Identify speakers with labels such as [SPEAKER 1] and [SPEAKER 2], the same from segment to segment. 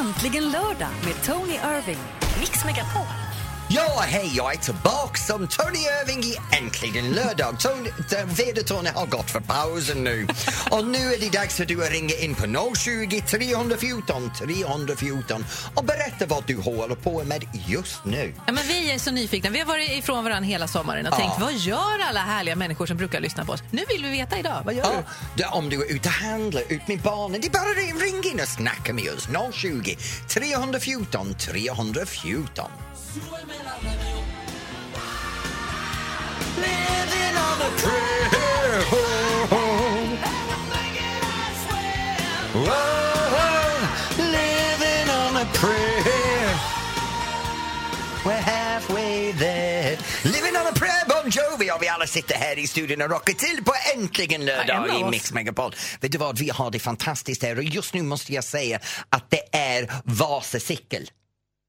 [SPEAKER 1] Äntligen lördag med Tony Irving. Mix Megapol.
[SPEAKER 2] Ja, hej, jag är tillbaka som Tony Irving i Äntligen lördag. Tony, vädertornet har gått för pausen nu. Och nu är det dags för du att ringa in på 020 314 314 och berätta vad du håller på med just nu.
[SPEAKER 3] Ja, men vi är så nyfikna. Vi har varit ifrån varandra hela sommaren och
[SPEAKER 2] Ja.
[SPEAKER 3] tänkt vad gör alla härliga människor som brukar lyssna på oss? Nu vill vi veta idag. Vad gör
[SPEAKER 2] Ja,
[SPEAKER 3] du?
[SPEAKER 2] det- om du är ute och handlar, ut med barnen, det är bara ring- ring in och snacka med oss. 020 314 314. Living on a prayer. We're halfway there. Living on a prayer, Bon Jovi! Och vi alla sitter här i studion och rockar till på Äntligen
[SPEAKER 3] Ja,
[SPEAKER 2] lördag
[SPEAKER 3] en av
[SPEAKER 2] i
[SPEAKER 3] oss.
[SPEAKER 2] Mix Megapol. Vet du vad, vi har det fantastiskt här och just nu måste jag säga att det är Vasacykel.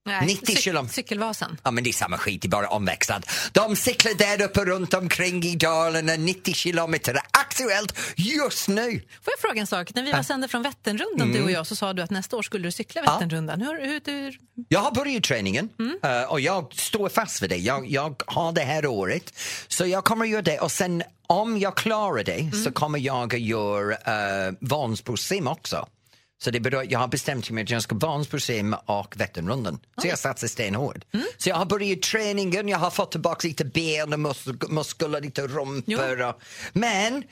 [SPEAKER 3] Nej,
[SPEAKER 2] 90 kilo.
[SPEAKER 3] Cykelvasan.
[SPEAKER 2] Ja men det är samma skit, det är bara omväxlad. De cyklar där uppe runt omkring i Dalarna, 90 kilometer, aktuellt just nu.
[SPEAKER 3] Får jag fråga en sak? När vi var sända från Vätternrundan,
[SPEAKER 2] Mm.
[SPEAKER 3] du och jag, så sa du att nästa år skulle du cykla Vätternrundan. Hur, hur, hur...
[SPEAKER 2] Jag har börjat träningen eh, och jag står fast vid det. Jag, jag har det här året. Så jag kommer att göra det och sen om jag klarar det så kommer jag att göra uh, Vansbrosim också. Så det beror, jag har bestämt mig att jag ska Vansbrosim och Vätternrundan. Så jag satsar stenhårt. Så jag har börjat träningen, jag har fått tillbaka lite ben och mus- muskler, lite rumpor. Och, men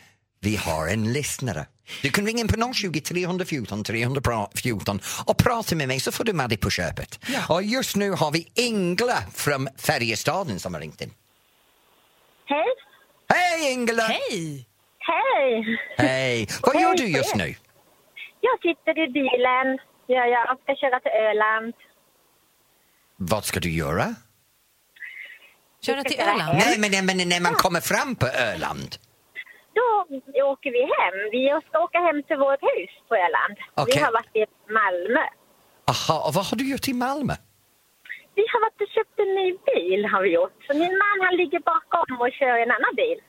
[SPEAKER 2] vi har en lyssnare. Du kan ringa in på 020 314 314 och prata med mig så får du med dig på köpet. Och just nu har vi Ingela från Färjestaden som har ringt in.
[SPEAKER 4] Hej!
[SPEAKER 2] Hej Ingela!
[SPEAKER 3] Hej!
[SPEAKER 4] Hej!
[SPEAKER 2] Hej! Vad gör
[SPEAKER 4] Hej
[SPEAKER 2] du
[SPEAKER 4] på
[SPEAKER 2] just
[SPEAKER 4] er.
[SPEAKER 2] nu?
[SPEAKER 4] Jag sitter i bilen. Ja, jag ska köra till Öland.
[SPEAKER 2] Vad ska du göra?
[SPEAKER 3] Köra till
[SPEAKER 4] Cykelväg.
[SPEAKER 3] Öland?
[SPEAKER 2] Nej, men, nej, men när man kommer fram på Öland.
[SPEAKER 4] Då åker vi hem. Vi ska åka hem till vårt hus på Öland.
[SPEAKER 2] Okej.
[SPEAKER 4] Vi har varit i Malmö.
[SPEAKER 2] Aha, och vad har du gjort i Malmö?
[SPEAKER 4] Vi har varit och köpt en ny bil har vi gjort. Så min man han ligger bakom och kör en annan bil.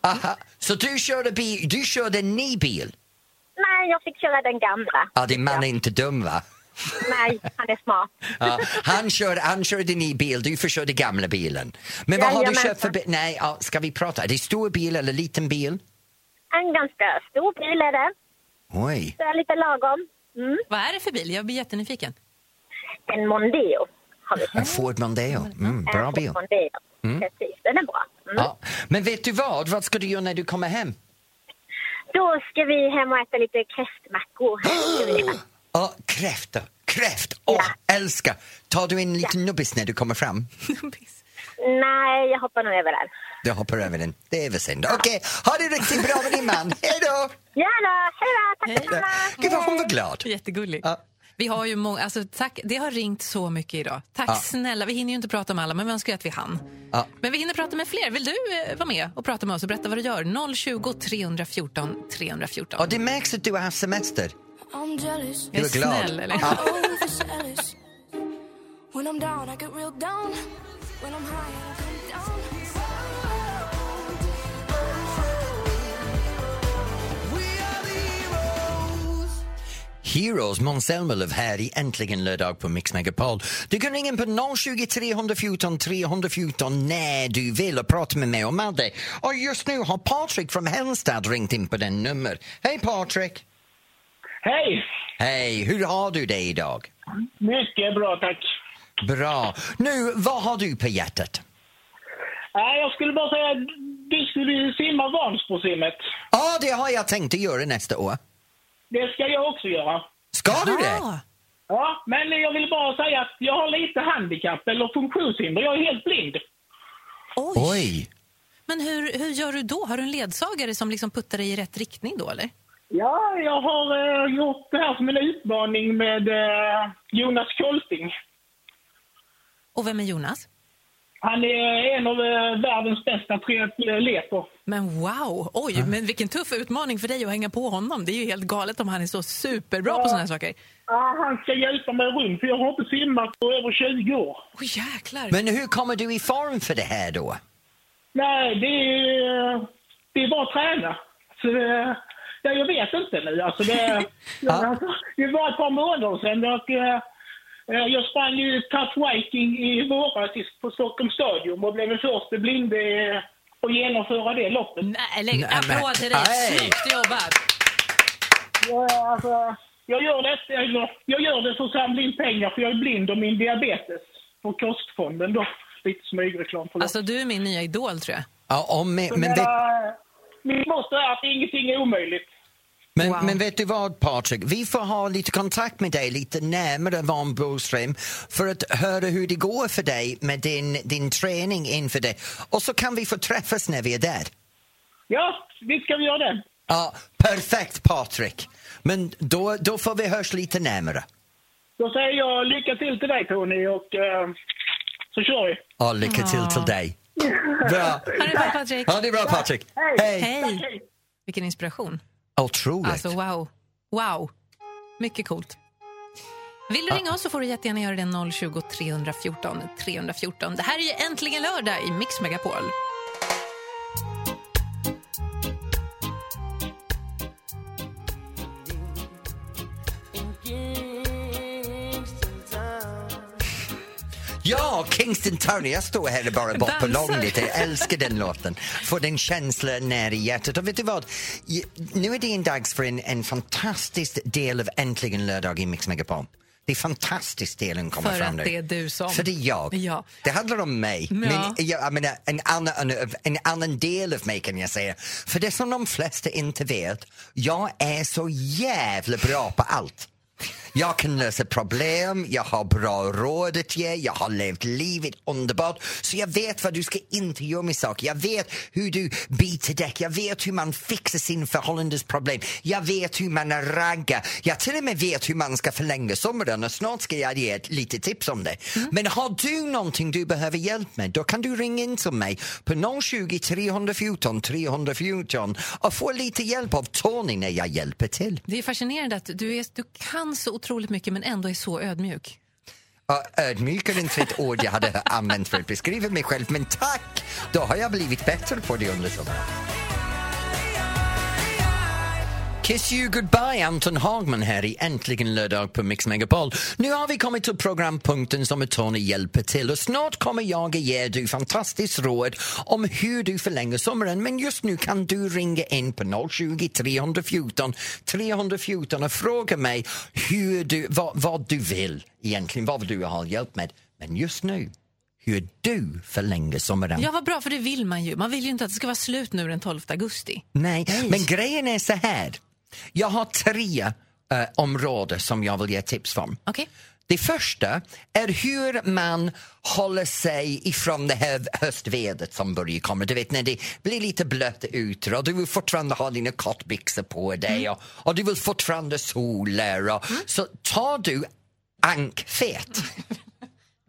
[SPEAKER 2] Aha, så du körde, bil, du körde en ny bil?
[SPEAKER 4] Nej, jag fick köra den gamla.
[SPEAKER 2] Ja, din man är inte dum va?
[SPEAKER 4] Nej, han är smart.
[SPEAKER 2] Ja, han, kör, han körde en ny bil, du förkörde gamla bilen. Men vad har du
[SPEAKER 4] Jajamensan.
[SPEAKER 2] köpt för bil? Nej, ja, ska vi prata? Är det stor bil eller liten bil?
[SPEAKER 4] En ganska stor bil är det.
[SPEAKER 2] Oj.
[SPEAKER 4] Så är lite lagom. Mm.
[SPEAKER 3] Vad är det för bil? Jag blir jättenyfiken.
[SPEAKER 4] En Mondeo har vi.
[SPEAKER 2] En Ford Mondeo. Mm,
[SPEAKER 4] En
[SPEAKER 2] bra bil.
[SPEAKER 4] Mondeo. Precis, den är bra. Mm.
[SPEAKER 2] Ja. Men vet du vad? Vad ska du göra när du kommer hem?
[SPEAKER 4] Då ska vi hem och äta lite kräftmackor. Ska vi göra.
[SPEAKER 2] Ja, kräfta. Kräft! Åh, älskar! Tar du en liten nubbis när du kommer fram?
[SPEAKER 4] Nej, jag hoppar nog över den.
[SPEAKER 2] Du hoppar över den. Det är väl synd. Okej, ha det riktigt bra med din man. Hej då!
[SPEAKER 4] Gärna! Hej då! Tack
[SPEAKER 3] Hej.
[SPEAKER 4] detsamma!
[SPEAKER 2] Gud vad hon var glad.
[SPEAKER 3] Jättegullig.
[SPEAKER 2] Ja.
[SPEAKER 3] Vi har ju många, alltså, tack, det har ringt så mycket idag. Tack
[SPEAKER 2] Ja.
[SPEAKER 3] snälla. Vi hinner ju inte prata om alla, men vi önskar ju att vi hann.
[SPEAKER 2] Ja.
[SPEAKER 3] Men vi hinner prata med fler. Vill du eh, vara med och prata med oss och berätta vad du gör? 020 314 314.
[SPEAKER 2] Och det märks att du har haft semester.
[SPEAKER 5] I'm jealous.
[SPEAKER 2] Du är glad.
[SPEAKER 3] snäll, eller?
[SPEAKER 2] Ja.
[SPEAKER 5] Overzealous. When I'm down, I get real down. When I'm high, I come down.
[SPEAKER 2] Heroes, Måns Zelmerlöw här i Äntligen lördag på Mix Megapol. Du kan ringa in på 020 314 314 när du vill och prata med mig och Madde. Och just nu har Patrik från Hälstad ringt in på den nummer. Hej Patrik!
[SPEAKER 6] Hej!
[SPEAKER 2] Hej, hur har du det idag?
[SPEAKER 6] Mycket bra, tack.
[SPEAKER 2] Bra. Nu, vad har du på hjärtat?
[SPEAKER 6] Nej, jag skulle bara säga att du skulle simma Vansbrosimmet.
[SPEAKER 2] Ja, det har jag tänkt att göra nästa år.
[SPEAKER 6] Det ska jag också göra.
[SPEAKER 2] Ska du det?
[SPEAKER 3] Ah,
[SPEAKER 6] Ja, men jag vill bara säga att jag har lite handikapp eller funktionshinder. Jag är helt blind.
[SPEAKER 3] Oj.
[SPEAKER 2] Oj!
[SPEAKER 3] Men hur, hur gör du då? Har du en ledsagare som liksom puttar dig i rätt riktning då eller?
[SPEAKER 6] Ja, jag har eh, gjort det här som en utmaning med eh, Jonas Kolting.
[SPEAKER 3] Och vem är Jonas?
[SPEAKER 6] Han är en av eh, världens bästa triatleter.
[SPEAKER 3] Men wow! Oj, men vilken tuff utmaning för dig att hänga på honom. Det är ju helt galet om han är så superbra på såna här saker.
[SPEAKER 6] Ja, han ska hjälpa mig runt, för jag har inte simmat på över 20 år.
[SPEAKER 3] Oj, jäklar!
[SPEAKER 2] Men hur kommer du i form för det här då?
[SPEAKER 6] Nej, det är, det är bara att träna. Så det, Ja, jag vet inte nu. Alltså det,
[SPEAKER 2] Ja.
[SPEAKER 6] alltså, det var ett par månader sedan och eh, eh, jag sprang ju Tough Viking i våras i- på Stockholms stadion och blev den första blinde eh, att genomföra det loppet.
[SPEAKER 7] Nej, lägg
[SPEAKER 2] Nej, men-
[SPEAKER 7] applåd till dig.
[SPEAKER 2] Nej.
[SPEAKER 7] Snyggt jobbat.
[SPEAKER 6] Jag, eh, alltså, jag, gör det, eller, jag gör det för att samla in pengar för jag är blind och min diabetes. Och Kostfonden då. Lite smygreklam för
[SPEAKER 3] Alltså, du är min nya idol, tror jag.
[SPEAKER 2] Ja, om, men, men, vet,
[SPEAKER 6] Min måste är att ingenting är omöjligt.
[SPEAKER 2] men,
[SPEAKER 3] Wow.
[SPEAKER 2] men vet du vad Patrik, vi får ha lite kontakt med dig lite närmare Van Broström för att höra hur det går för dig med din, din träning inför det. Och så kan vi få träffas när vi är där.
[SPEAKER 6] Ja, visst kan vi göra det.
[SPEAKER 2] Ja, perfekt Patrik. Men då, då får vi hörs lite närmare.
[SPEAKER 6] Då säger jag lycka till till dig Tony och eh, så kör vi.
[SPEAKER 2] Ja, lycka till till dig. Bra.
[SPEAKER 3] Ha det bra, Patrik.
[SPEAKER 2] Ja, det är bra Patrik.
[SPEAKER 6] Hej.
[SPEAKER 2] Hej.
[SPEAKER 3] Hej! Vilken inspiration.
[SPEAKER 2] Otroligt.
[SPEAKER 3] Alltså, wow. Wow. Mycket coolt. Vill du ringa oss så får du jättegärna göra det 020 314 314. Det här är ju äntligen lördag i Mix Megapol.
[SPEAKER 2] Ja, Kingston Tony. Jag står här och bara bort på
[SPEAKER 3] Dansar.
[SPEAKER 2] lång lite. Jag älskar den låten. Får den känslan när i hjärtat. Och vet du vad? I- Nu är det en dags för en, en fantastisk del av Äntligen lördag i Mix Megapol. Det är fantastiskt delen kommer
[SPEAKER 3] För
[SPEAKER 2] fram
[SPEAKER 3] att
[SPEAKER 2] nu.
[SPEAKER 3] det är du som-
[SPEAKER 2] För det är jag.
[SPEAKER 3] Ja.
[SPEAKER 2] Det handlar om mig. Men
[SPEAKER 3] Ja.
[SPEAKER 2] jag, jag menar, en, annan, en, en annan del av mig kan jag säga. För det som de flesta inte vet, jag är så jävla bra på allt. Jag kan lösa problem, jag har bra råd att ge, jag har levt livet underbart. Så jag vet vad du ska inte göra med saker. Jag vet hur du byter däck, jag vet hur man fixar sin förhållandesproblem. Jag vet hur man raggar. Jag till och med vet hur man ska förlänga sommaren och snart ska jag ge ett lite tips om det. Men har du någonting du behöver hjälp med, då kan du ringa in till mig på 020 314 314 och få lite hjälp av Tony när jag hjälper till.
[SPEAKER 3] Det är fascinerande att du, är, du kan så otroligt mycket men ändå är så ödmjuk.
[SPEAKER 2] Ja, Ödmjuk är inte ett ord jag hade använt för att beskriva mig själv, men tack! Då har jag blivit bättre på det under sommaren. Kiss you goodbye, Anton Hagman här i Äntligen lördag på Mix Megapol. Nu har vi kommit till programpunkten som Tony hjälper till och snart kommer jag att ge dig fantastiskt råd om hur du förlänger sommaren men just nu kan du ringa in på 020 314 314 och fråga mig hur du, vad, vad du vill egentligen, vad du har hjälp med. Men just nu, hur du förlänger sommaren.
[SPEAKER 3] Ja, vad bra, för det vill man ju. Man vill ju inte att det ska vara slut nu den 12 augusti.
[SPEAKER 2] Nej, men grejen är så här. Jag har tre eh, områden som jag vill ge tips om.
[SPEAKER 3] Okej?
[SPEAKER 2] Det första är hur man håller sig ifrån det här höstvädret som börjar komma. Du vet när det blir lite blött ute och du vill fortfarande ha dina kortbyxor på dig och, och du vill fortfarande sola. Och, Så tar du ankfet.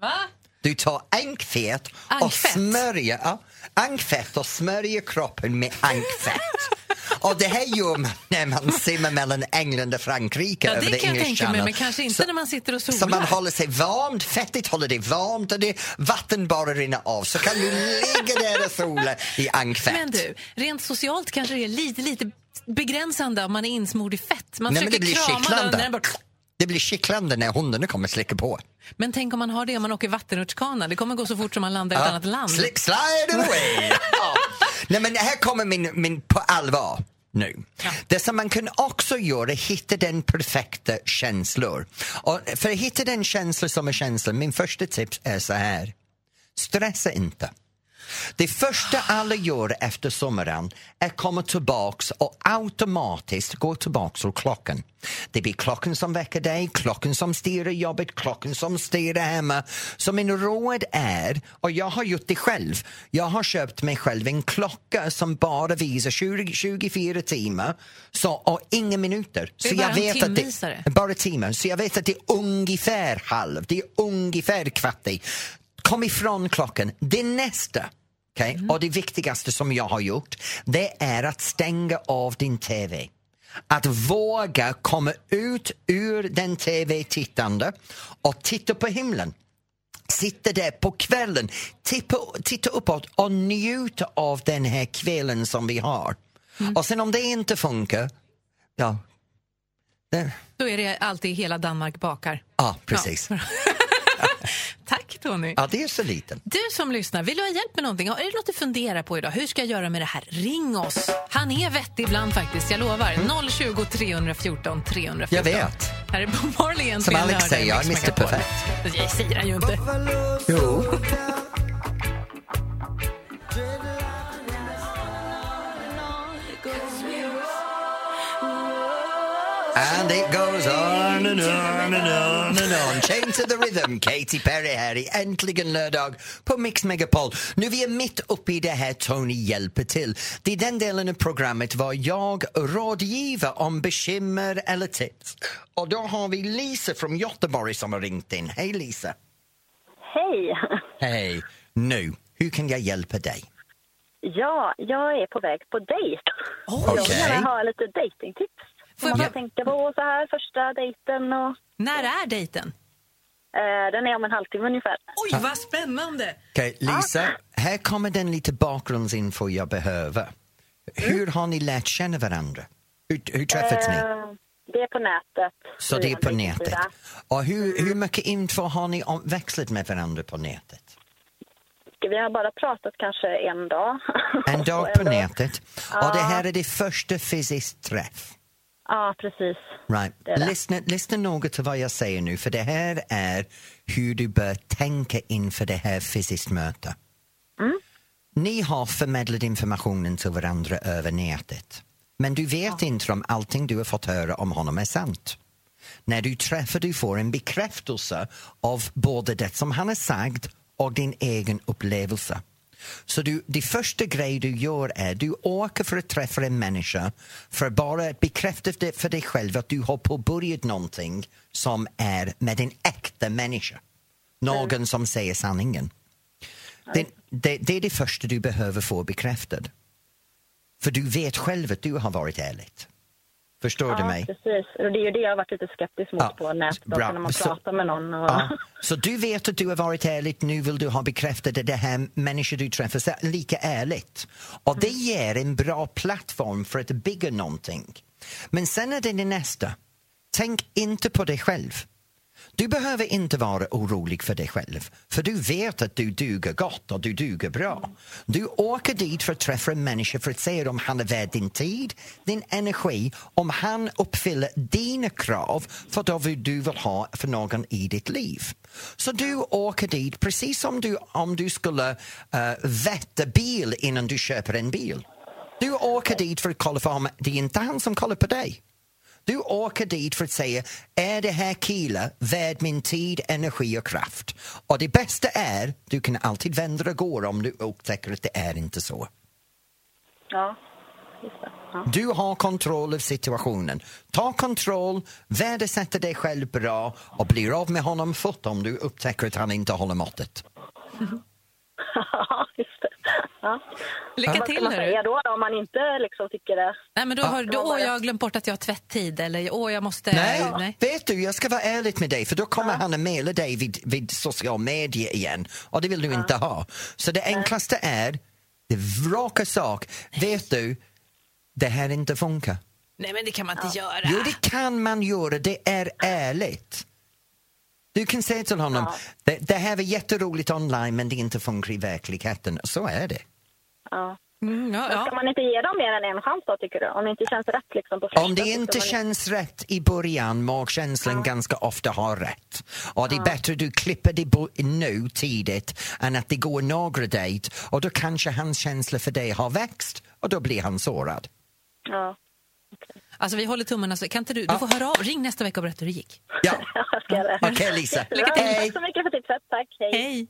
[SPEAKER 3] Va?
[SPEAKER 2] Du tar ankfett och
[SPEAKER 3] Ankfett?
[SPEAKER 2] smörjer ja, ankfett och smörjer kroppen med ankfett. och det här gör man när man simmar mellan England och Frankrike
[SPEAKER 3] Ja,
[SPEAKER 2] över
[SPEAKER 3] det
[SPEAKER 2] the
[SPEAKER 3] kan jag
[SPEAKER 2] English
[SPEAKER 3] tänka mig,
[SPEAKER 2] Channel.
[SPEAKER 3] men kanske inte
[SPEAKER 2] Så-
[SPEAKER 3] när man sitter och solar.
[SPEAKER 2] så man håller sig varmt, fettet håller dig varmt och det, vatten bara rinner av så kan du ligga där och sola i ankfett.
[SPEAKER 3] Men du, rent socialt kanske det är lite, lite begränsande om man är insmord i fett. Man
[SPEAKER 2] Nej, men det blir
[SPEAKER 3] försöker krama den, när den
[SPEAKER 2] kittlande.
[SPEAKER 3] bara...
[SPEAKER 2] Det blir kittlande när hundarna kommer slicka på.
[SPEAKER 3] Men tänk om man har det om man åker vattenrutschkana. Det kommer gå så fort som man landar i ett annat land.
[SPEAKER 2] Slip slide away! ja. Nej, men här kommer min, min på allvar nu. Det som man kan också göra är hitta den perfekta känslor. Och för att hitta den känsla som är känslan, min första tips är så här. Stressa inte. Det första alla gör efter sommaren är att komma tillbaks och automatiskt gå tillbaks till klockan. Det blir klockan som väcker dig, klockan som styr i jobbet, klockan som styr hemma. Så min råd är, och jag har gjort det själv, jag har köpt mig själv en klocka som bara visar 20, 24 timmar så, och inga minuter.
[SPEAKER 3] Det är
[SPEAKER 2] så
[SPEAKER 3] bara
[SPEAKER 2] jag
[SPEAKER 3] en
[SPEAKER 2] vet att
[SPEAKER 3] timvisare.
[SPEAKER 2] det, bara timmar. Så jag vet att det är ungefär halv, det är ungefär kvart i. Kom ifrån klockan. Det nästa, okej, och det viktigaste som jag har gjort, det är att stänga av din TV. Att våga komma ut ur den TV-tittande och titta på himlen sitta där på kvällen, titta, titta uppåt och njuta av den här kvällen som vi har. Och sen om det inte funkar, Ja. Det-
[SPEAKER 3] Då är det alltid hela Danmark bakar.
[SPEAKER 2] Ja, precis. Ja.
[SPEAKER 3] Tack Tony.
[SPEAKER 2] det är så liten.
[SPEAKER 3] Du som lyssnar, vill du ha hjälp med någonting? Är det något du funderar på idag? Hur ska jag göra med det här? Ring oss! Han är vettig ibland faktiskt, jag lovar. 020 314 314.
[SPEAKER 2] Mm. Jag vet.
[SPEAKER 3] Här är Bob Marley egentligen.
[SPEAKER 2] Som Alex
[SPEAKER 3] lördag i
[SPEAKER 2] säger, jag är
[SPEAKER 3] Mix
[SPEAKER 2] Mr.
[SPEAKER 3] Megapol.
[SPEAKER 2] Perfect.
[SPEAKER 3] Det säger han ju inte.
[SPEAKER 2] Jo. And it goes on and on and on and on. Chain to the rhythm, Katy Perry här i Äntligen lördag på Mix Megapol. Nu vi är mitt uppe i det här Tony hjälper till. Det är den delen av programmet var jag rådgiver om bekymmer eller tips. Och då har vi Lisa från Göteborg som har ringt in. Hej Lisa!
[SPEAKER 4] Hej!
[SPEAKER 2] Hej! Nu, hur kan jag hjälpa dig?
[SPEAKER 4] Ja, jag är på väg på dejt.
[SPEAKER 2] Okej.
[SPEAKER 4] Jag vill gärna ha lite dejtingtips.
[SPEAKER 3] Får
[SPEAKER 4] Vad
[SPEAKER 3] jag
[SPEAKER 4] man
[SPEAKER 3] bara,
[SPEAKER 4] kan tänka på så här, första dejten och...
[SPEAKER 3] när är dejten?
[SPEAKER 4] Eh, den är om en halvtimme ungefär.
[SPEAKER 3] Oj, vad spännande!
[SPEAKER 2] Okej, Lisa, här kommer den lite bakgrundsinfo jag behöver. Hur har ni lärt känna varandra? Hur, hur träffades ni?
[SPEAKER 4] Eh, det är på nätet.
[SPEAKER 2] Så det är
[SPEAKER 4] via
[SPEAKER 2] på
[SPEAKER 4] en
[SPEAKER 2] nätet.
[SPEAKER 4] dejtingsida.
[SPEAKER 2] Och hur, hur mycket info har ni om- växlat med varandra på nätet?
[SPEAKER 4] Vi har bara pratat kanske en dag.
[SPEAKER 2] En dag
[SPEAKER 4] Och
[SPEAKER 2] på
[SPEAKER 4] ändå-
[SPEAKER 2] nätet. Och det här är det första fysiskt träff.
[SPEAKER 4] Ja, precis.
[SPEAKER 2] Right.
[SPEAKER 4] Det är det.
[SPEAKER 2] Lyssna, lyssna noga till vad jag säger nu, för det här är hur du bör tänka inför det här fysiskt mötet. Ni har förmedlat informationen till varandra över nätet. Men du vet inte om allting du har fått höra om honom är sant. När du träffar du får en bekräftelse av både det som han har sagt och din egen upplevelse. Så du, det första grej du gör är du åker för att träffa en människa för bara att bekräfta det för dig själv att du har påbörjat någonting som är med en äkta människa. Någon som säger sanningen. Det, det, det är det första du behöver få bekräftat. För du vet själv att du har varit ärlig. Förstår du
[SPEAKER 4] ja,
[SPEAKER 2] mig?
[SPEAKER 4] precis. Och det är ju det jag har varit lite skeptisk mot
[SPEAKER 2] Ja,
[SPEAKER 4] på nätet.
[SPEAKER 2] bra.
[SPEAKER 4] Bra. När man
[SPEAKER 2] Så-
[SPEAKER 4] pratar med någon och...
[SPEAKER 2] Ja. Så du vet att du har varit ärlig, nu vill du ha bekräftat att det här människor du träffar så är lika ärligt. Och det ger en bra plattform för att bygga någonting. Men sen är det det nästa. Tänk inte på dig själv. Du behöver inte vara orolig för dig själv, för du vet att du duger gott och du duger bra. Du åker dit för att träffa en människa för att se om han är värd din tid, din energi, om han uppfyller dina krav för det vill du vill ha för någon i ditt liv. Så du åker dit precis som du, om du skulle uh, vätta bil innan du köper en bil. Du åker dit för att kolla för om det är inte han som kollar på dig. Du åker dit för att säga, är det här killen värd min tid, energi och kraft? Och det bästa är, du kan alltid vända och gå om du upptäcker att det är inte så.
[SPEAKER 4] Ja, just det. Ja.
[SPEAKER 2] Du har kontroll över situationen. Ta kontroll, värdesätter dig själv bra och blir av med honom fort om du upptäcker att han inte håller måttet.
[SPEAKER 4] Ja, just det. Ja.
[SPEAKER 3] Lycka
[SPEAKER 4] Vad ska
[SPEAKER 3] till
[SPEAKER 4] man
[SPEAKER 3] hörru.
[SPEAKER 4] säga då, då om man inte liksom tycker det?
[SPEAKER 3] Nej, men då har då, åh, jag har glömt bort att jag har tvätttid eller åh, jag måste...
[SPEAKER 2] Nej, vet du, jag ska vara ärlig med dig för då kommer han att mejla dig vid, vid social media igen och det vill du inte ha. Så det enklaste är, det är raka sak, vet du, det här inte funkar.
[SPEAKER 3] Nej, men det kan man inte göra.
[SPEAKER 2] Jo, det kan man göra, det är ärligt. Du kan säga till honom, det, det här var jätteroligt online men det inte funkar i verkligheten. Så är det.
[SPEAKER 4] Ja.
[SPEAKER 3] Mm, ja,
[SPEAKER 4] Men Ska
[SPEAKER 3] ja.
[SPEAKER 4] man inte ge dem mer än en chans då, tycker du? Om det inte känns rätt liksom på första,
[SPEAKER 2] Om det
[SPEAKER 4] så ska
[SPEAKER 2] inte
[SPEAKER 4] man
[SPEAKER 2] känns rätt i början, magkänslan ganska ofta har rätt. Och det är bättre du klipper det bo- nu tidigt än att det går några dejt och då kanske hans känsla för dig har växt och då blir han sårad.
[SPEAKER 4] Ja,
[SPEAKER 3] Alltså, vi håller tummarna. Så, kan inte du, du får höra av. Ring nästa vecka och berätta hur det gick.
[SPEAKER 2] Ja,
[SPEAKER 4] jag ska göra det.
[SPEAKER 2] okej Lisa.
[SPEAKER 4] Bra,
[SPEAKER 2] Hej.
[SPEAKER 4] Tack så mycket för tipset. Tack. Hej.
[SPEAKER 3] Hej!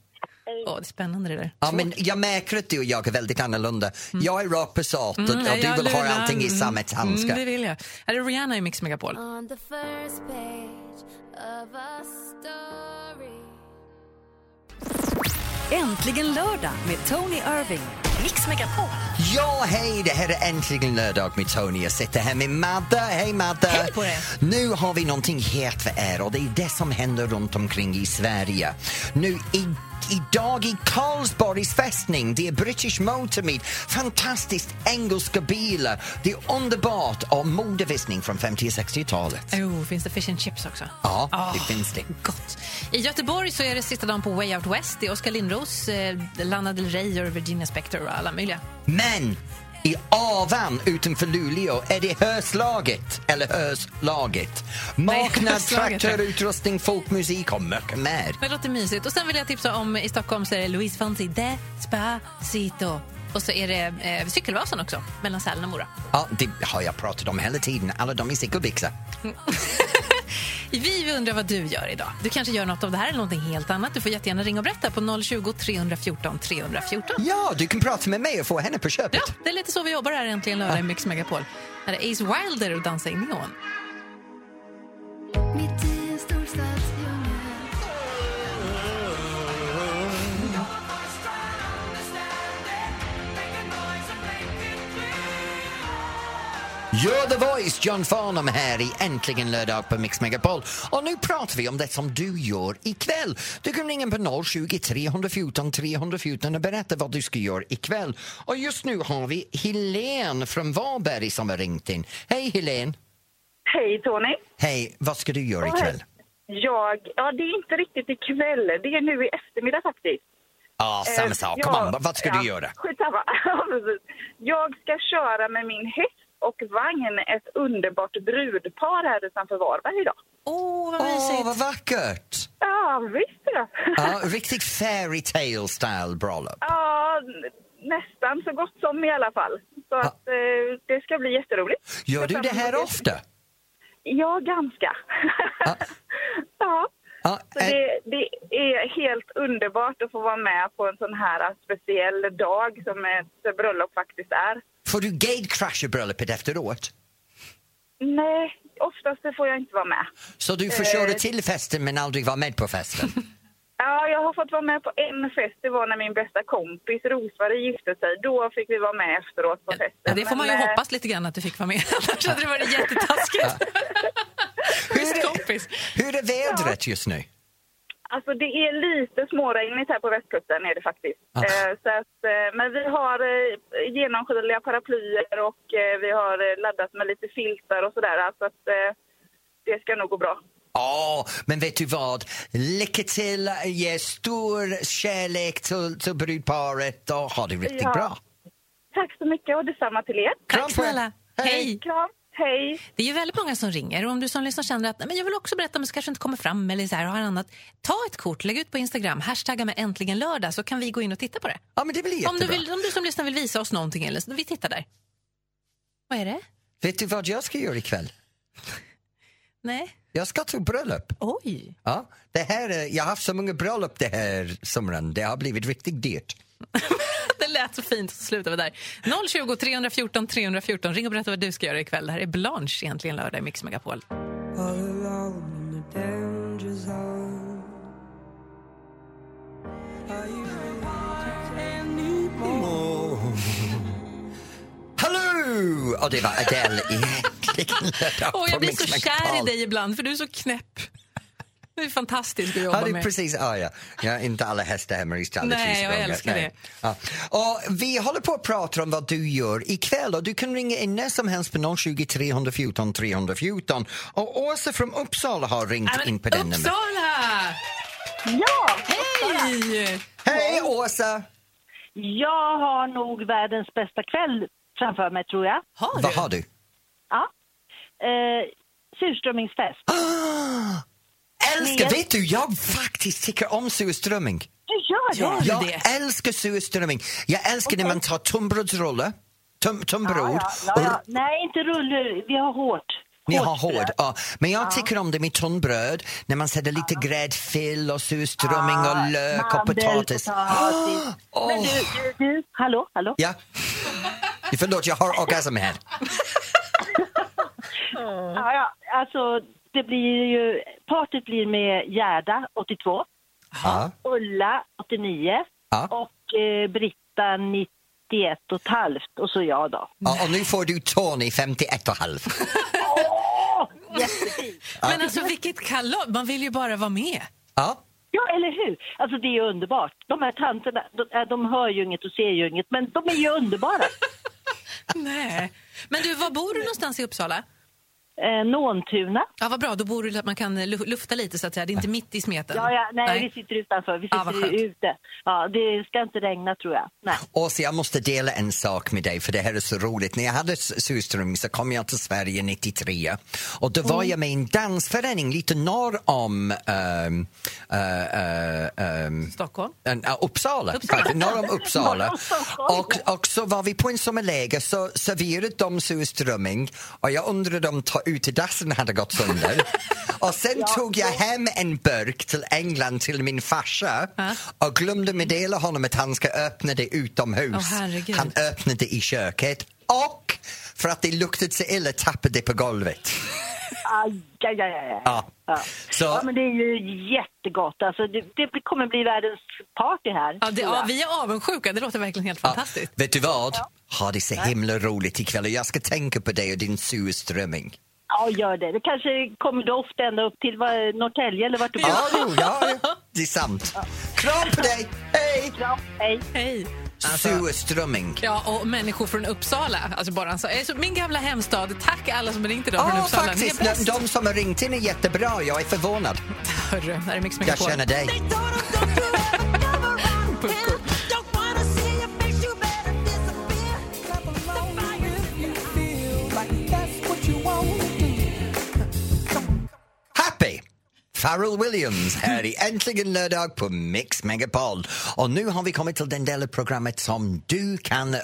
[SPEAKER 3] Åh, det är spännande det där.
[SPEAKER 2] Ja, men jag märker att du och jag är väldigt annorlunda. Jag är rakt på sak och, och
[SPEAKER 3] Nej,
[SPEAKER 2] du
[SPEAKER 3] Mm. jag
[SPEAKER 2] vill ha
[SPEAKER 3] lurar.
[SPEAKER 2] allting i
[SPEAKER 3] Mm,
[SPEAKER 2] sammetshandskar.
[SPEAKER 3] Mm, det vill jag. Här är Rihanna i Mix Megapol.
[SPEAKER 5] On the first page of a story.
[SPEAKER 1] Äntligen lördag med Tony Irving. Mix Megapol.
[SPEAKER 2] Ja, hej! Det här är äntligen lördag med Tony. Jag sitter här med Madde. Hej, Madde!
[SPEAKER 3] Hej på dig.
[SPEAKER 2] Nu har vi någonting helt för er och det är det som händer runt omkring i Sverige. Nu, idag i Karlsborgs fästning. Det är British Motor Meet. Fantastiskt engelska bilar. Det är underbart och modevisning från 50 och 60-talet.
[SPEAKER 3] Jo, finns det fish and chips också?
[SPEAKER 2] Ja,
[SPEAKER 3] Ah,
[SPEAKER 2] det finns det.
[SPEAKER 3] Gott. I Göteborg så är det sista dagen på Way Out West. Det är Oskar Lindros, eh, Lana Del Rey och Virginia Spector och alla möjliga.
[SPEAKER 2] Men i Avan utanför Luleå är det Hörslaget, eller Hörslaget. Marknad,
[SPEAKER 3] Hörslaget, ja.
[SPEAKER 2] traktorutrustning, folkmusik och mycket mer.
[SPEAKER 3] Men det låter mysigt. Och sen vill jag tipsa om i Stockholm så är det Louise Fonsi Despacito. Och så är det eh, Cykelvasan också, mellan Sälen och Mora.
[SPEAKER 2] Ja, det har jag pratat om hela tiden, alla de i cykelbyxor.
[SPEAKER 3] Vi undrar vad du gör idag. Du kanske gör något av det här eller något helt annat. Du får jättegärna ringa och berätta på 020 314 314.
[SPEAKER 2] Ja, du kan prata med mig och få henne på köpet.
[SPEAKER 3] Ja, det är lite så vi jobbar här äntligen lördag i Mix Megapol. Här är Ace Wilder och Dansa i neon.
[SPEAKER 2] You're the voice, John Farnham här i Äntligen lördag på Mix Megapol. Och nu pratar vi om det som du gör ikväll. Du kan ringa på 020 314 314 och berätta vad du ska göra ikväll. Och just nu har vi Helene från Varberg som har ringt in. Hej Helene!
[SPEAKER 8] Hej Tony!
[SPEAKER 2] Hej, vad ska du göra ikväll?
[SPEAKER 8] Jag, ja det är inte riktigt ikväll, det är nu i eftermiddag faktiskt.
[SPEAKER 2] Ja, samma sak. Kom
[SPEAKER 8] Eh, ja,
[SPEAKER 2] an, vad ska
[SPEAKER 8] ja,
[SPEAKER 2] du göra?
[SPEAKER 8] Skitsamma. Ja, precis. jag ska köra med min häst och vagn ett underbart brudpar här utanför Varberg idag.
[SPEAKER 3] Åh, vad
[SPEAKER 2] Åh,
[SPEAKER 3] mysigt!
[SPEAKER 2] vad vackert!
[SPEAKER 8] Ja, visst du.
[SPEAKER 2] Ja, riktigt fairy tale style bröllop.
[SPEAKER 8] Ja, nästan så gott som i alla fall. Så att, eh, det ska bli jätteroligt.
[SPEAKER 2] Gör du det här ofta?
[SPEAKER 8] Ja, ganska.
[SPEAKER 2] Ja.
[SPEAKER 8] ja.
[SPEAKER 2] Ja,
[SPEAKER 8] Så
[SPEAKER 2] eh,
[SPEAKER 8] det, det är helt underbart att få vara med på en sån här speciell dag som ett bröllop faktiskt är.
[SPEAKER 2] Får du gatecrasha bröllopet efteråt?
[SPEAKER 8] Nej, oftast så får jag inte vara med.
[SPEAKER 2] Så du får köra till festen men aldrig vara med på festen?
[SPEAKER 8] Ja, jag har fått vara med på en fest. Det var när min bästa kompis Rosmarie gifte sig. Då fick vi vara med efteråt på
[SPEAKER 3] Ja,
[SPEAKER 8] festen.
[SPEAKER 3] det får man ju
[SPEAKER 8] Men, eh,
[SPEAKER 3] hoppas lite grann att du fick vara med. Annars hade det varit jättetaskigt. Schysst kompis.
[SPEAKER 2] Hur är vädret just nu?
[SPEAKER 8] Alltså det är lite småregnigt här på västkusten är det faktiskt.
[SPEAKER 2] Ah.
[SPEAKER 8] Eh, så att, eh, men vi har eh, genomskinliga paraplyer och eh, vi har eh, laddat med lite filtar och sådär. Alltså att eh, det ska nog gå bra.
[SPEAKER 2] Ja, men vet du vad? Lycka till, ge stor kärlek till, till brudparet och ha det riktigt
[SPEAKER 8] Ja.
[SPEAKER 2] bra.
[SPEAKER 8] Tack så mycket och detsamma till er.
[SPEAKER 2] Kram
[SPEAKER 3] Tack
[SPEAKER 2] på er.
[SPEAKER 3] snälla.
[SPEAKER 2] Hej.
[SPEAKER 3] Hej!
[SPEAKER 8] Kram, hej!
[SPEAKER 3] Det är ju väldigt många som ringer. Och om du som lyssnar känner att "Nej, men jag vill också berätta men så kanske inte kommer fram eller så här, har annat. Ta ett kort, lägg ut på Instagram, hashtagga med äntligen lördag så kan vi gå in och titta på det.
[SPEAKER 2] Ja, men det blir jättebra.
[SPEAKER 3] Om du, vill, om du som lyssnar vill visa oss någonting eller så, vi tittar där. Vad är det?
[SPEAKER 2] Vet du vad jag ska göra ikväll?
[SPEAKER 3] Nej.
[SPEAKER 2] Jag ska till bröllop.
[SPEAKER 3] Oj.
[SPEAKER 2] Ja, det här, är- jag har haft så många bröllop det här sommaren. Det har blivit riktigt dyrt.
[SPEAKER 3] Det lät så fint så slutar vi där. 020 314 314. Ring och berätta vad du ska göra ikväll. Det här är Blanche egentligen lördag i Mix Megapol.
[SPEAKER 9] all alone in the danger zone. Are you
[SPEAKER 2] Hallå! Och det var Adele i Äntligen lördag
[SPEAKER 3] Åh,
[SPEAKER 2] på
[SPEAKER 3] jag blir
[SPEAKER 2] Mix
[SPEAKER 3] så kär
[SPEAKER 2] Megapol.
[SPEAKER 3] i dig ibland för du är så knäpp. Du är fantastisk
[SPEAKER 2] Ja,
[SPEAKER 3] att jobba
[SPEAKER 2] det är
[SPEAKER 3] med.
[SPEAKER 2] precis. Ah, ja. Jag har inte alla hästar hemma i stallet.
[SPEAKER 3] Nej,
[SPEAKER 2] just
[SPEAKER 3] jag
[SPEAKER 2] nu.
[SPEAKER 3] älskar
[SPEAKER 2] Nej. Ja. Och vi håller på att prata om vad du gör ikväll och du kan ringa in när som helst på 020 314 314. Och Åsa från Uppsala har ringt
[SPEAKER 3] Nej, men
[SPEAKER 2] in på den numret.
[SPEAKER 3] Uppsala!
[SPEAKER 1] Ja,
[SPEAKER 3] Hej!
[SPEAKER 2] Hej Åsa!
[SPEAKER 1] jag har nog världens bästa kväll framför mig tror jag.
[SPEAKER 3] Har
[SPEAKER 2] Vad
[SPEAKER 3] du?
[SPEAKER 2] har du?
[SPEAKER 1] Ja. Eh, surströmmingsfest.
[SPEAKER 2] Älskar, vet du, jag faktiskt tycker om surströmming.
[SPEAKER 1] Du gör det?
[SPEAKER 3] Ja.
[SPEAKER 2] Jag
[SPEAKER 3] det?
[SPEAKER 2] älskar surströmming. Jag älskar när man tar tunnbrödsrullar, tum, tunnbröd
[SPEAKER 1] ja, ja,
[SPEAKER 2] och
[SPEAKER 1] ja. Nej, inte rullor. Vi har hårt.
[SPEAKER 2] Ni har
[SPEAKER 1] Hårt bröd.
[SPEAKER 2] hård, ja. Men jag tycker om det med tunnbröd när man sätter lite gräddfil och surströmming och lök och
[SPEAKER 1] Mandel,
[SPEAKER 2] potatis.
[SPEAKER 1] potatis. Men du, du, du, hallå, hallå.
[SPEAKER 2] Ja. Förlåt, jag har orgasm här.
[SPEAKER 1] Ja, ja. Alltså, det blir ju, partyt blir med Gerda, 82,
[SPEAKER 2] Ja.
[SPEAKER 1] Ulla, 89
[SPEAKER 2] Ja.
[SPEAKER 1] och eh, Britta, 91 och ett halvt och så jag då.
[SPEAKER 2] Ja, och nu får du Tony, 51 och halv.
[SPEAKER 1] Jättefint.
[SPEAKER 3] Men alltså vilket kalas! Man vill ju bara vara med.
[SPEAKER 2] Ja.
[SPEAKER 10] Ja, eller hur? Alltså det är underbart. De här tanterna, de, äh, de hör ju inget och ser ju inget, men de är ju underbara.
[SPEAKER 3] Nej. Men du, var bor du någonstans i Uppsala?
[SPEAKER 10] Eh, Nåntuna.
[SPEAKER 3] Ja, vad bra. Då bor du att man kan lu- lufta lite så att säga. Det är inte mitt i smeten.
[SPEAKER 10] Ja, ja, nej, vi sitter utanför. Vi
[SPEAKER 3] Ja, vad
[SPEAKER 10] sitter
[SPEAKER 3] skönt.
[SPEAKER 10] ute. Ja, det ska inte regna tror jag. Nej.
[SPEAKER 2] Åsa, jag måste dela en sak med dig, för det här är så roligt. När jag hade s- surströmming så kom jag till Sverige 93 och då var jag med i en dansförening lite norr om ehm, eh, eh, ehm,
[SPEAKER 3] Stockholm.
[SPEAKER 2] en, ja, Uppsala, faktiskt, norr om Uppsala. Och, och så var vi på en sommarläger så serverade de surströmming och jag undrade om ta- utedassen hade gått sönder. och sen tog jag hem en burk till England till min farsa och glömde meddela honom att han ska öppna det utomhus.
[SPEAKER 3] Åh, herregud.
[SPEAKER 2] han öppnade det i köket och för att det luktade så illa tappade det på golvet.
[SPEAKER 10] Aj, aj, aj, aj. aj.
[SPEAKER 2] Ja.
[SPEAKER 10] Ja.
[SPEAKER 2] Så-
[SPEAKER 10] ja, men det är ju jättegott. Alltså, det, det blir- kommer bli världens party här.
[SPEAKER 3] Ja, det,
[SPEAKER 10] tror jag.
[SPEAKER 3] ja, vi är avundsjuka. Det låter verkligen helt fantastiskt.
[SPEAKER 2] Vet du vad? Ha det så himla roligt ikväll och jag ska tänka på dig och din surströmming.
[SPEAKER 10] ja, gör det. Det kanske kommer doft ända upp till vad- Norrtälje eller vart du bor.
[SPEAKER 2] Ja, jo, ja, ja. det är sant. Kram på dig! Hej!
[SPEAKER 10] Kram, hej.
[SPEAKER 3] Hej.
[SPEAKER 2] Surströmming.
[SPEAKER 3] Ja, och människor från Uppsala. Alltså bara en så, alltså, min gamla hemstad. Tack alla som ringt idag från
[SPEAKER 2] Ja,
[SPEAKER 3] Uppsala.
[SPEAKER 2] faktiskt.
[SPEAKER 3] Ni är
[SPEAKER 2] De,
[SPEAKER 3] bäst.
[SPEAKER 2] de som har ringt in är jättebra. Jag är förvånad.
[SPEAKER 3] Hörru, det här är Mix
[SPEAKER 2] Jag
[SPEAKER 3] Megapol.
[SPEAKER 2] känner dig. Happy! Pharrell Williams här i Äntligen lördag på Mix Megapol. Och nu har vi kommit till den del av programmet som du kan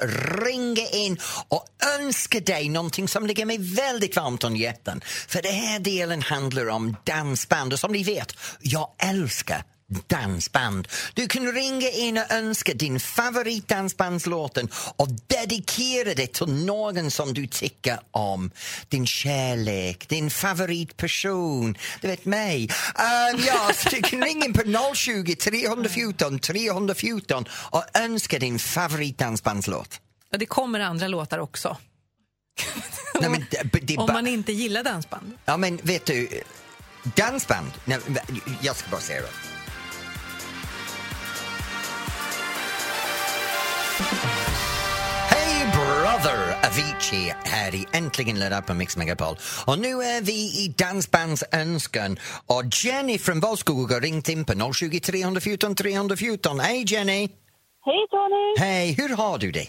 [SPEAKER 2] ringa in och önska dig någonting som ligger mig väldigt varmt om hjärtan. För den här delen handlar om dansband och som ni vet, jag älskar dansband. Du kan ringa in och önska din favoritdansbandslåten och dedikera det till någon som du tycker om. Din kärlek, din favoritperson, du vet mig. Um, ja, så du kan ringa in på 020 314 314 och önska din favoritdansbandslåt.
[SPEAKER 3] Ja, det kommer andra låtar också.
[SPEAKER 2] Nej, men, det, det är
[SPEAKER 3] Om
[SPEAKER 2] ba-
[SPEAKER 3] man inte gillar dansband.
[SPEAKER 2] Ja, men vet du, dansband... Nej, jag ska bara säga det. Hey brother Avicii här i Äntligen lördag på Mix Megapol. Och nu är vi i dansbandsönskan och Jenny från Valskog har ringt in på 020 314 314. Hej Jenny!
[SPEAKER 8] Hej Tony!
[SPEAKER 2] Hej, hur har du det?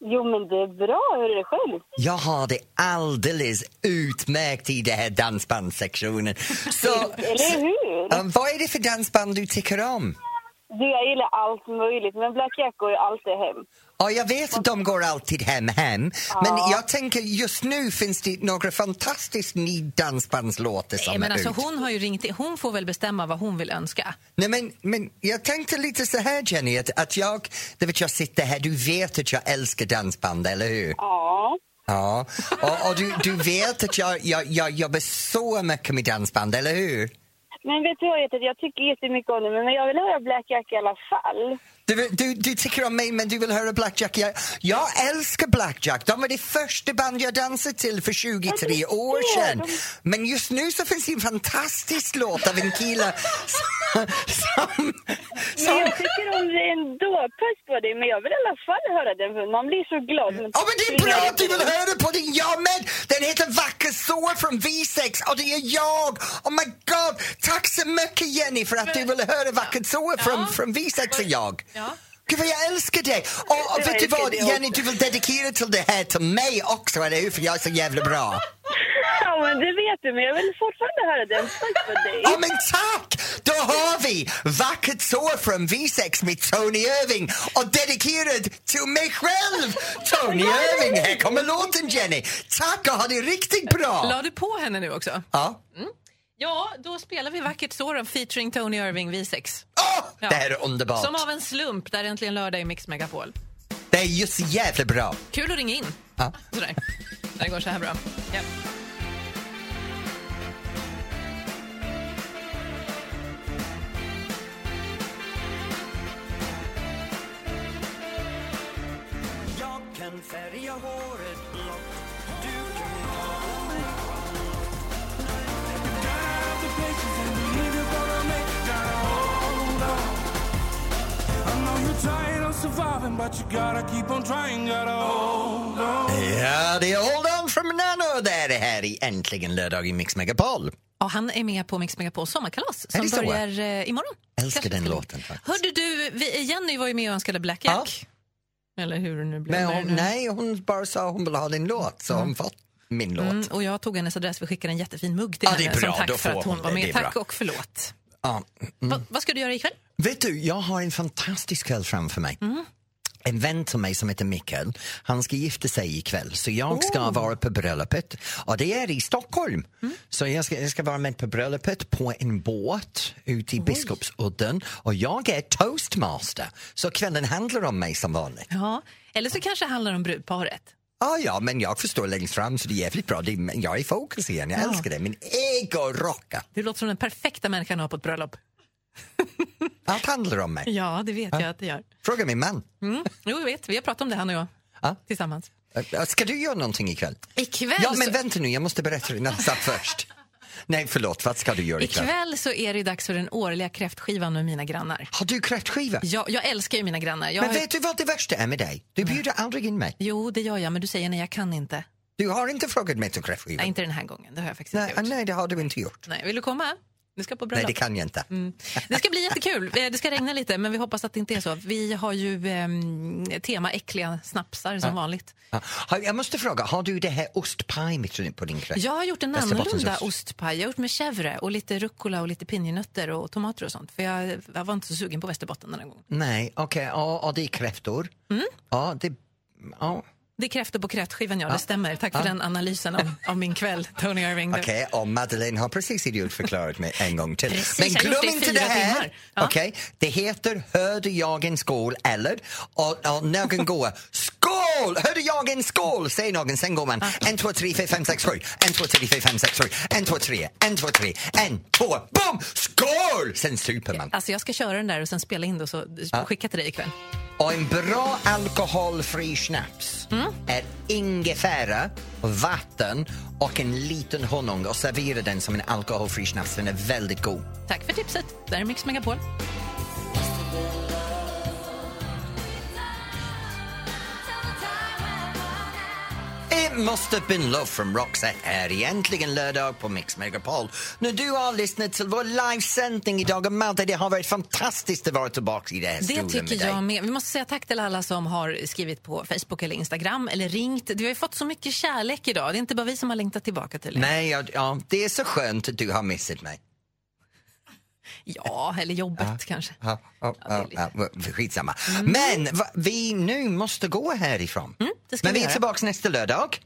[SPEAKER 8] Jo men det är bra, hur är det själv?
[SPEAKER 2] Jag har det alldeles utmärkt i den här dansbandssektionen. Så,
[SPEAKER 8] Eller hur?
[SPEAKER 2] Um, vad är det för dansband du tycker om?
[SPEAKER 8] Du, jag gillar allt möjligt, men Black Jack går ju alltid hem.
[SPEAKER 2] Ja, jag vet att de går alltid hem, hem. Men jag tänker just nu finns det några fantastiskt nya dansbandslåtar som
[SPEAKER 3] Nej, men
[SPEAKER 2] är
[SPEAKER 3] alltså,
[SPEAKER 2] ut.
[SPEAKER 3] hon, har ju ringt in. hon får väl bestämma vad hon vill önska.
[SPEAKER 2] Nej, men, men jag tänkte lite så här Jenny, att, att jag, det vet jag sitter här, du vet att jag älskar dansband, eller hur?
[SPEAKER 8] Ja.
[SPEAKER 2] Ja. Och, och du, du vet att jag, jag, jag jobbar så mycket med dansband, eller hur?
[SPEAKER 8] Men vet du vad Jette, jag tycker jättemycket om det, men jag vill höra Black Jack i alla fall.
[SPEAKER 2] Du, du, du tycker om mig men du vill höra Blackjack. Jag, jag älskar Blackjack. De var det första band jag dansade till för 23 år sedan. Men just nu så finns det en fantastisk låt av en kille som... som,
[SPEAKER 8] Men
[SPEAKER 2] som
[SPEAKER 8] jag tycker om det ändå, puss på dig, men jag vill i alla fall höra den, för man blir så glad.
[SPEAKER 2] Ja men det är bra att du vill höra på den, jag med! Den heter Vacker sår från V6 och det är jag! Oh my god! Tack så mycket Jenny för att du vill höra Vacker sår från, från V6 och jag!
[SPEAKER 3] Ja.
[SPEAKER 2] Gud vad jag älskar dig! Och, och
[SPEAKER 8] Jag
[SPEAKER 2] vet du
[SPEAKER 8] älskar
[SPEAKER 2] vad
[SPEAKER 8] dig också.
[SPEAKER 2] Jenny, du vill dedikera till det här till mig också, eller hur? För jag är så jävla bra.
[SPEAKER 8] Ja, men det vet du, men jag vill fortfarande höra den, puss på dig.
[SPEAKER 2] Ja men tack! Då har vi Vackert sår från V6 med Tony Irving och dedikerad till mig själv! Tony Irving, här kommer låten Jenny! Tack och ha det riktigt bra!
[SPEAKER 3] La du på henne nu också?
[SPEAKER 2] Ja.
[SPEAKER 3] Ja, då spelar vi Vackert sår av featuring Tony Irving V6.
[SPEAKER 2] Åh,
[SPEAKER 3] Ja.
[SPEAKER 2] Det här är underbart.
[SPEAKER 3] Som av en slump, där äntligen lördag i Mix Megapol.
[SPEAKER 2] Det är just jävla bra.
[SPEAKER 3] Kul att ringa in.
[SPEAKER 2] Ja.
[SPEAKER 3] Sådär. Det går så här bra. Ja.
[SPEAKER 11] surviving, but you gotta keep on trying, gotta hold on.
[SPEAKER 2] Ja, det är Hold On From Nano där det här i Äntligen lördag i Mix Megapol.
[SPEAKER 3] Ja, han är med på Mix Megapols sommarkalas
[SPEAKER 2] Är
[SPEAKER 3] som
[SPEAKER 2] det så?
[SPEAKER 3] börjar eh, imorgon.
[SPEAKER 2] Älskar den låten faktiskt.
[SPEAKER 3] Hörde du, vi, Jenny var ju med och önskade Black Jack. Eller hur det nu blev.
[SPEAKER 2] Men
[SPEAKER 3] Vad är
[SPEAKER 2] hon,
[SPEAKER 3] det nu?
[SPEAKER 2] nej, hon bara sa hon ville ha din låt, så hon fått min låt.
[SPEAKER 3] Mm, och jag tog hennes adress, vi skickade en jättefin mugg till
[SPEAKER 2] Ja, det är
[SPEAKER 3] henne som
[SPEAKER 2] bra.
[SPEAKER 3] tack
[SPEAKER 2] Då
[SPEAKER 3] för
[SPEAKER 2] får
[SPEAKER 3] att hon
[SPEAKER 2] hon
[SPEAKER 3] var
[SPEAKER 2] det.
[SPEAKER 3] med.
[SPEAKER 2] Det är
[SPEAKER 3] Tack
[SPEAKER 2] bra.
[SPEAKER 3] och förlåt.
[SPEAKER 2] Ja.
[SPEAKER 3] Va, vad ska du göra ikväll?
[SPEAKER 2] Vet du, jag har en fantastisk kväll framför mig.
[SPEAKER 3] Mm.
[SPEAKER 2] En vän till mig som heter Mikael, han ska gifta sig ikväll så jag ska
[SPEAKER 3] Oh.
[SPEAKER 2] vara på bröllopet och det är i Stockholm.
[SPEAKER 3] Mm.
[SPEAKER 2] Så jag ska, jag ska vara med på bröllopet på en båt ute i Biskopsudden och jag är toastmaster så kvällen handlar om mig som vanligt.
[SPEAKER 3] Ja. Eller så kanske det handlar om brudparet.
[SPEAKER 2] Ah, ja, men jag förstår längst fram så det är jävligt bra. Det, men jag är i fokus igen, jag
[SPEAKER 3] Ja.
[SPEAKER 2] älskar det. Min ego-rocka,
[SPEAKER 3] Du låter som den perfekta människan att ha på ett bröllop.
[SPEAKER 2] allt handlar om mig.
[SPEAKER 3] Ja, det vet jag att det gör.
[SPEAKER 2] Fråga min man.
[SPEAKER 3] Mm. Jo, jag vet. Vi har pratat om det, han och jag.
[SPEAKER 2] Ja.
[SPEAKER 3] Tillsammans.
[SPEAKER 2] Eh, Ska du göra någonting ikväll?
[SPEAKER 3] Ikväll,
[SPEAKER 2] Ja, men
[SPEAKER 3] så,
[SPEAKER 2] vänta nu, jag måste berätta din nästa först. Nej, förlåt, vad ska du göra ikväll?
[SPEAKER 3] ikväll så är det ju dags för den årliga kräftskivan med mina grannar.
[SPEAKER 2] Har du kräftskiva?
[SPEAKER 3] Jag, jag älskar ju mina grannar. Jag
[SPEAKER 2] Men
[SPEAKER 3] har ju-
[SPEAKER 2] vet du vad det värsta är med dig? Du bjuder aldrig in mig.
[SPEAKER 3] Jo, det gör jag, men du säger nej, jag kan inte.
[SPEAKER 2] Du har inte frågat mig till kräftskiva.
[SPEAKER 3] Nej, inte den här gången. Det har jag faktiskt
[SPEAKER 2] Nej,
[SPEAKER 3] inte
[SPEAKER 2] ah,
[SPEAKER 3] gjort.
[SPEAKER 2] nej, det har du inte gjort.
[SPEAKER 3] Nej, vill du komma? Du ska på
[SPEAKER 2] Nej,
[SPEAKER 3] bröllop.
[SPEAKER 2] det kan jag inte.
[SPEAKER 3] Mm. Det ska bli jättekul. Eh, Det ska regna lite, men vi hoppas att det inte är så. Vi har ju ehm, tema äckliga snapsar som vanligt.
[SPEAKER 2] Ja. Har- Jag måste fråga, har du det här ostpaj mitt nu på din kräft?
[SPEAKER 3] Jag har gjort en
[SPEAKER 2] Västerbottensost.
[SPEAKER 3] annorlunda ostpaj. Jag har gjort med chèvre och lite rucola och lite pinjenötter och tomater och sånt. För jag, jag var inte så sugen på Västerbotten den här gången.
[SPEAKER 2] Nej, okej. Ja, och det är kräftor.
[SPEAKER 3] Mm.
[SPEAKER 2] Ja, det... Ja.
[SPEAKER 3] Det är kräftor på kräftskivan, ja. Det stämmer. Tack för den analysen av, av min kväll, Tony Irving. Det-
[SPEAKER 2] Okej, och Madeleine har precis idiotförklarat mig en gång till.
[SPEAKER 3] Precis,
[SPEAKER 2] Men
[SPEAKER 3] jag har
[SPEAKER 2] glöm
[SPEAKER 3] gjort det i
[SPEAKER 2] inte det
[SPEAKER 3] fyra
[SPEAKER 2] här!
[SPEAKER 3] timmar. Ja.
[SPEAKER 2] Okej, det heter Hörde jag en skål eller? Och, och någon går Skål! Hörde jag en skål? Säger någon, sen går man en, två, tre, fyra, fem, sex, sju. En, två, tre, fyra, fem, sex, sju. En, två, tre, en, två, tre, en, två, boom! Skål! Sen super man.
[SPEAKER 3] Alltså jag ska köra den där och sen spela in det och så skicka till dig ikväll.
[SPEAKER 2] Och en bra alkoholfri snaps
[SPEAKER 3] Mm.
[SPEAKER 2] är ingefära, vatten och en liten honung och servera den som en alkoholfri snaps. Den är väldigt god.
[SPEAKER 3] Tack för tipset. Det här är Mix Megapol.
[SPEAKER 2] It must have been love from Roxette här i Äntligen lördag på Mix Megapol. När du har lyssnat till vår livesändning idag och Madde, det har varit fantastiskt att vara tillbaka i det här
[SPEAKER 3] Det
[SPEAKER 2] stolen med
[SPEAKER 3] tycker
[SPEAKER 2] dig.
[SPEAKER 3] jag med. Vi måste säga tack till alla som har skrivit på Facebook eller Instagram eller ringt. Vi har ju fått så mycket kärlek idag. Det är inte bara vi som har längtat tillbaka till
[SPEAKER 2] Nej, ja, ja, det är så skönt att du har missat mig.
[SPEAKER 3] Ja, eller jobbet kanske.
[SPEAKER 2] Ja, ja, ja,
[SPEAKER 3] lite-
[SPEAKER 2] ja, skitsamma.
[SPEAKER 3] Mm.
[SPEAKER 2] Men va, vi nu måste gå härifrån.
[SPEAKER 3] det ska
[SPEAKER 2] Men
[SPEAKER 3] vi
[SPEAKER 2] vi är
[SPEAKER 3] göra.
[SPEAKER 2] tillbaka nästa lördag.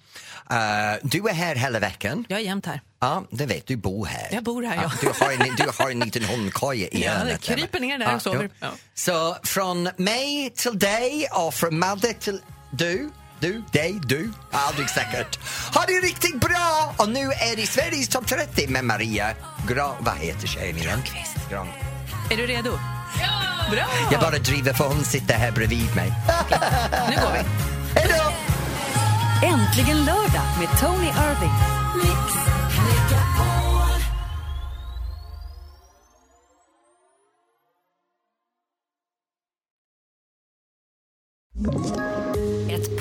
[SPEAKER 2] Eh, du är här hela veckan.
[SPEAKER 3] Jag är jämt här.
[SPEAKER 2] Ja, det vet du. bor här.
[SPEAKER 3] Jag bor här, ja.
[SPEAKER 2] Du har en, du har en liten hundkoja i
[SPEAKER 3] Ja,
[SPEAKER 2] hörnet
[SPEAKER 3] jag kryper
[SPEAKER 2] hemma.
[SPEAKER 3] ner där och sover.
[SPEAKER 2] jo.
[SPEAKER 3] Ja.
[SPEAKER 2] Så från mig till dig och från Madde till du, du, dig, du. Aldrig säkert. Ha det riktigt bra! Och nu är det Sveriges topp 30 med Maria Gra... Vad heter tjejen igen? Gran.
[SPEAKER 3] Är du redo? Ja! Bra!
[SPEAKER 2] Jag bara driver för hon sitter här bredvid mig.
[SPEAKER 3] Nu går vi.
[SPEAKER 2] Hej då!
[SPEAKER 1] Äntligen lördag med Tony Irving. Ett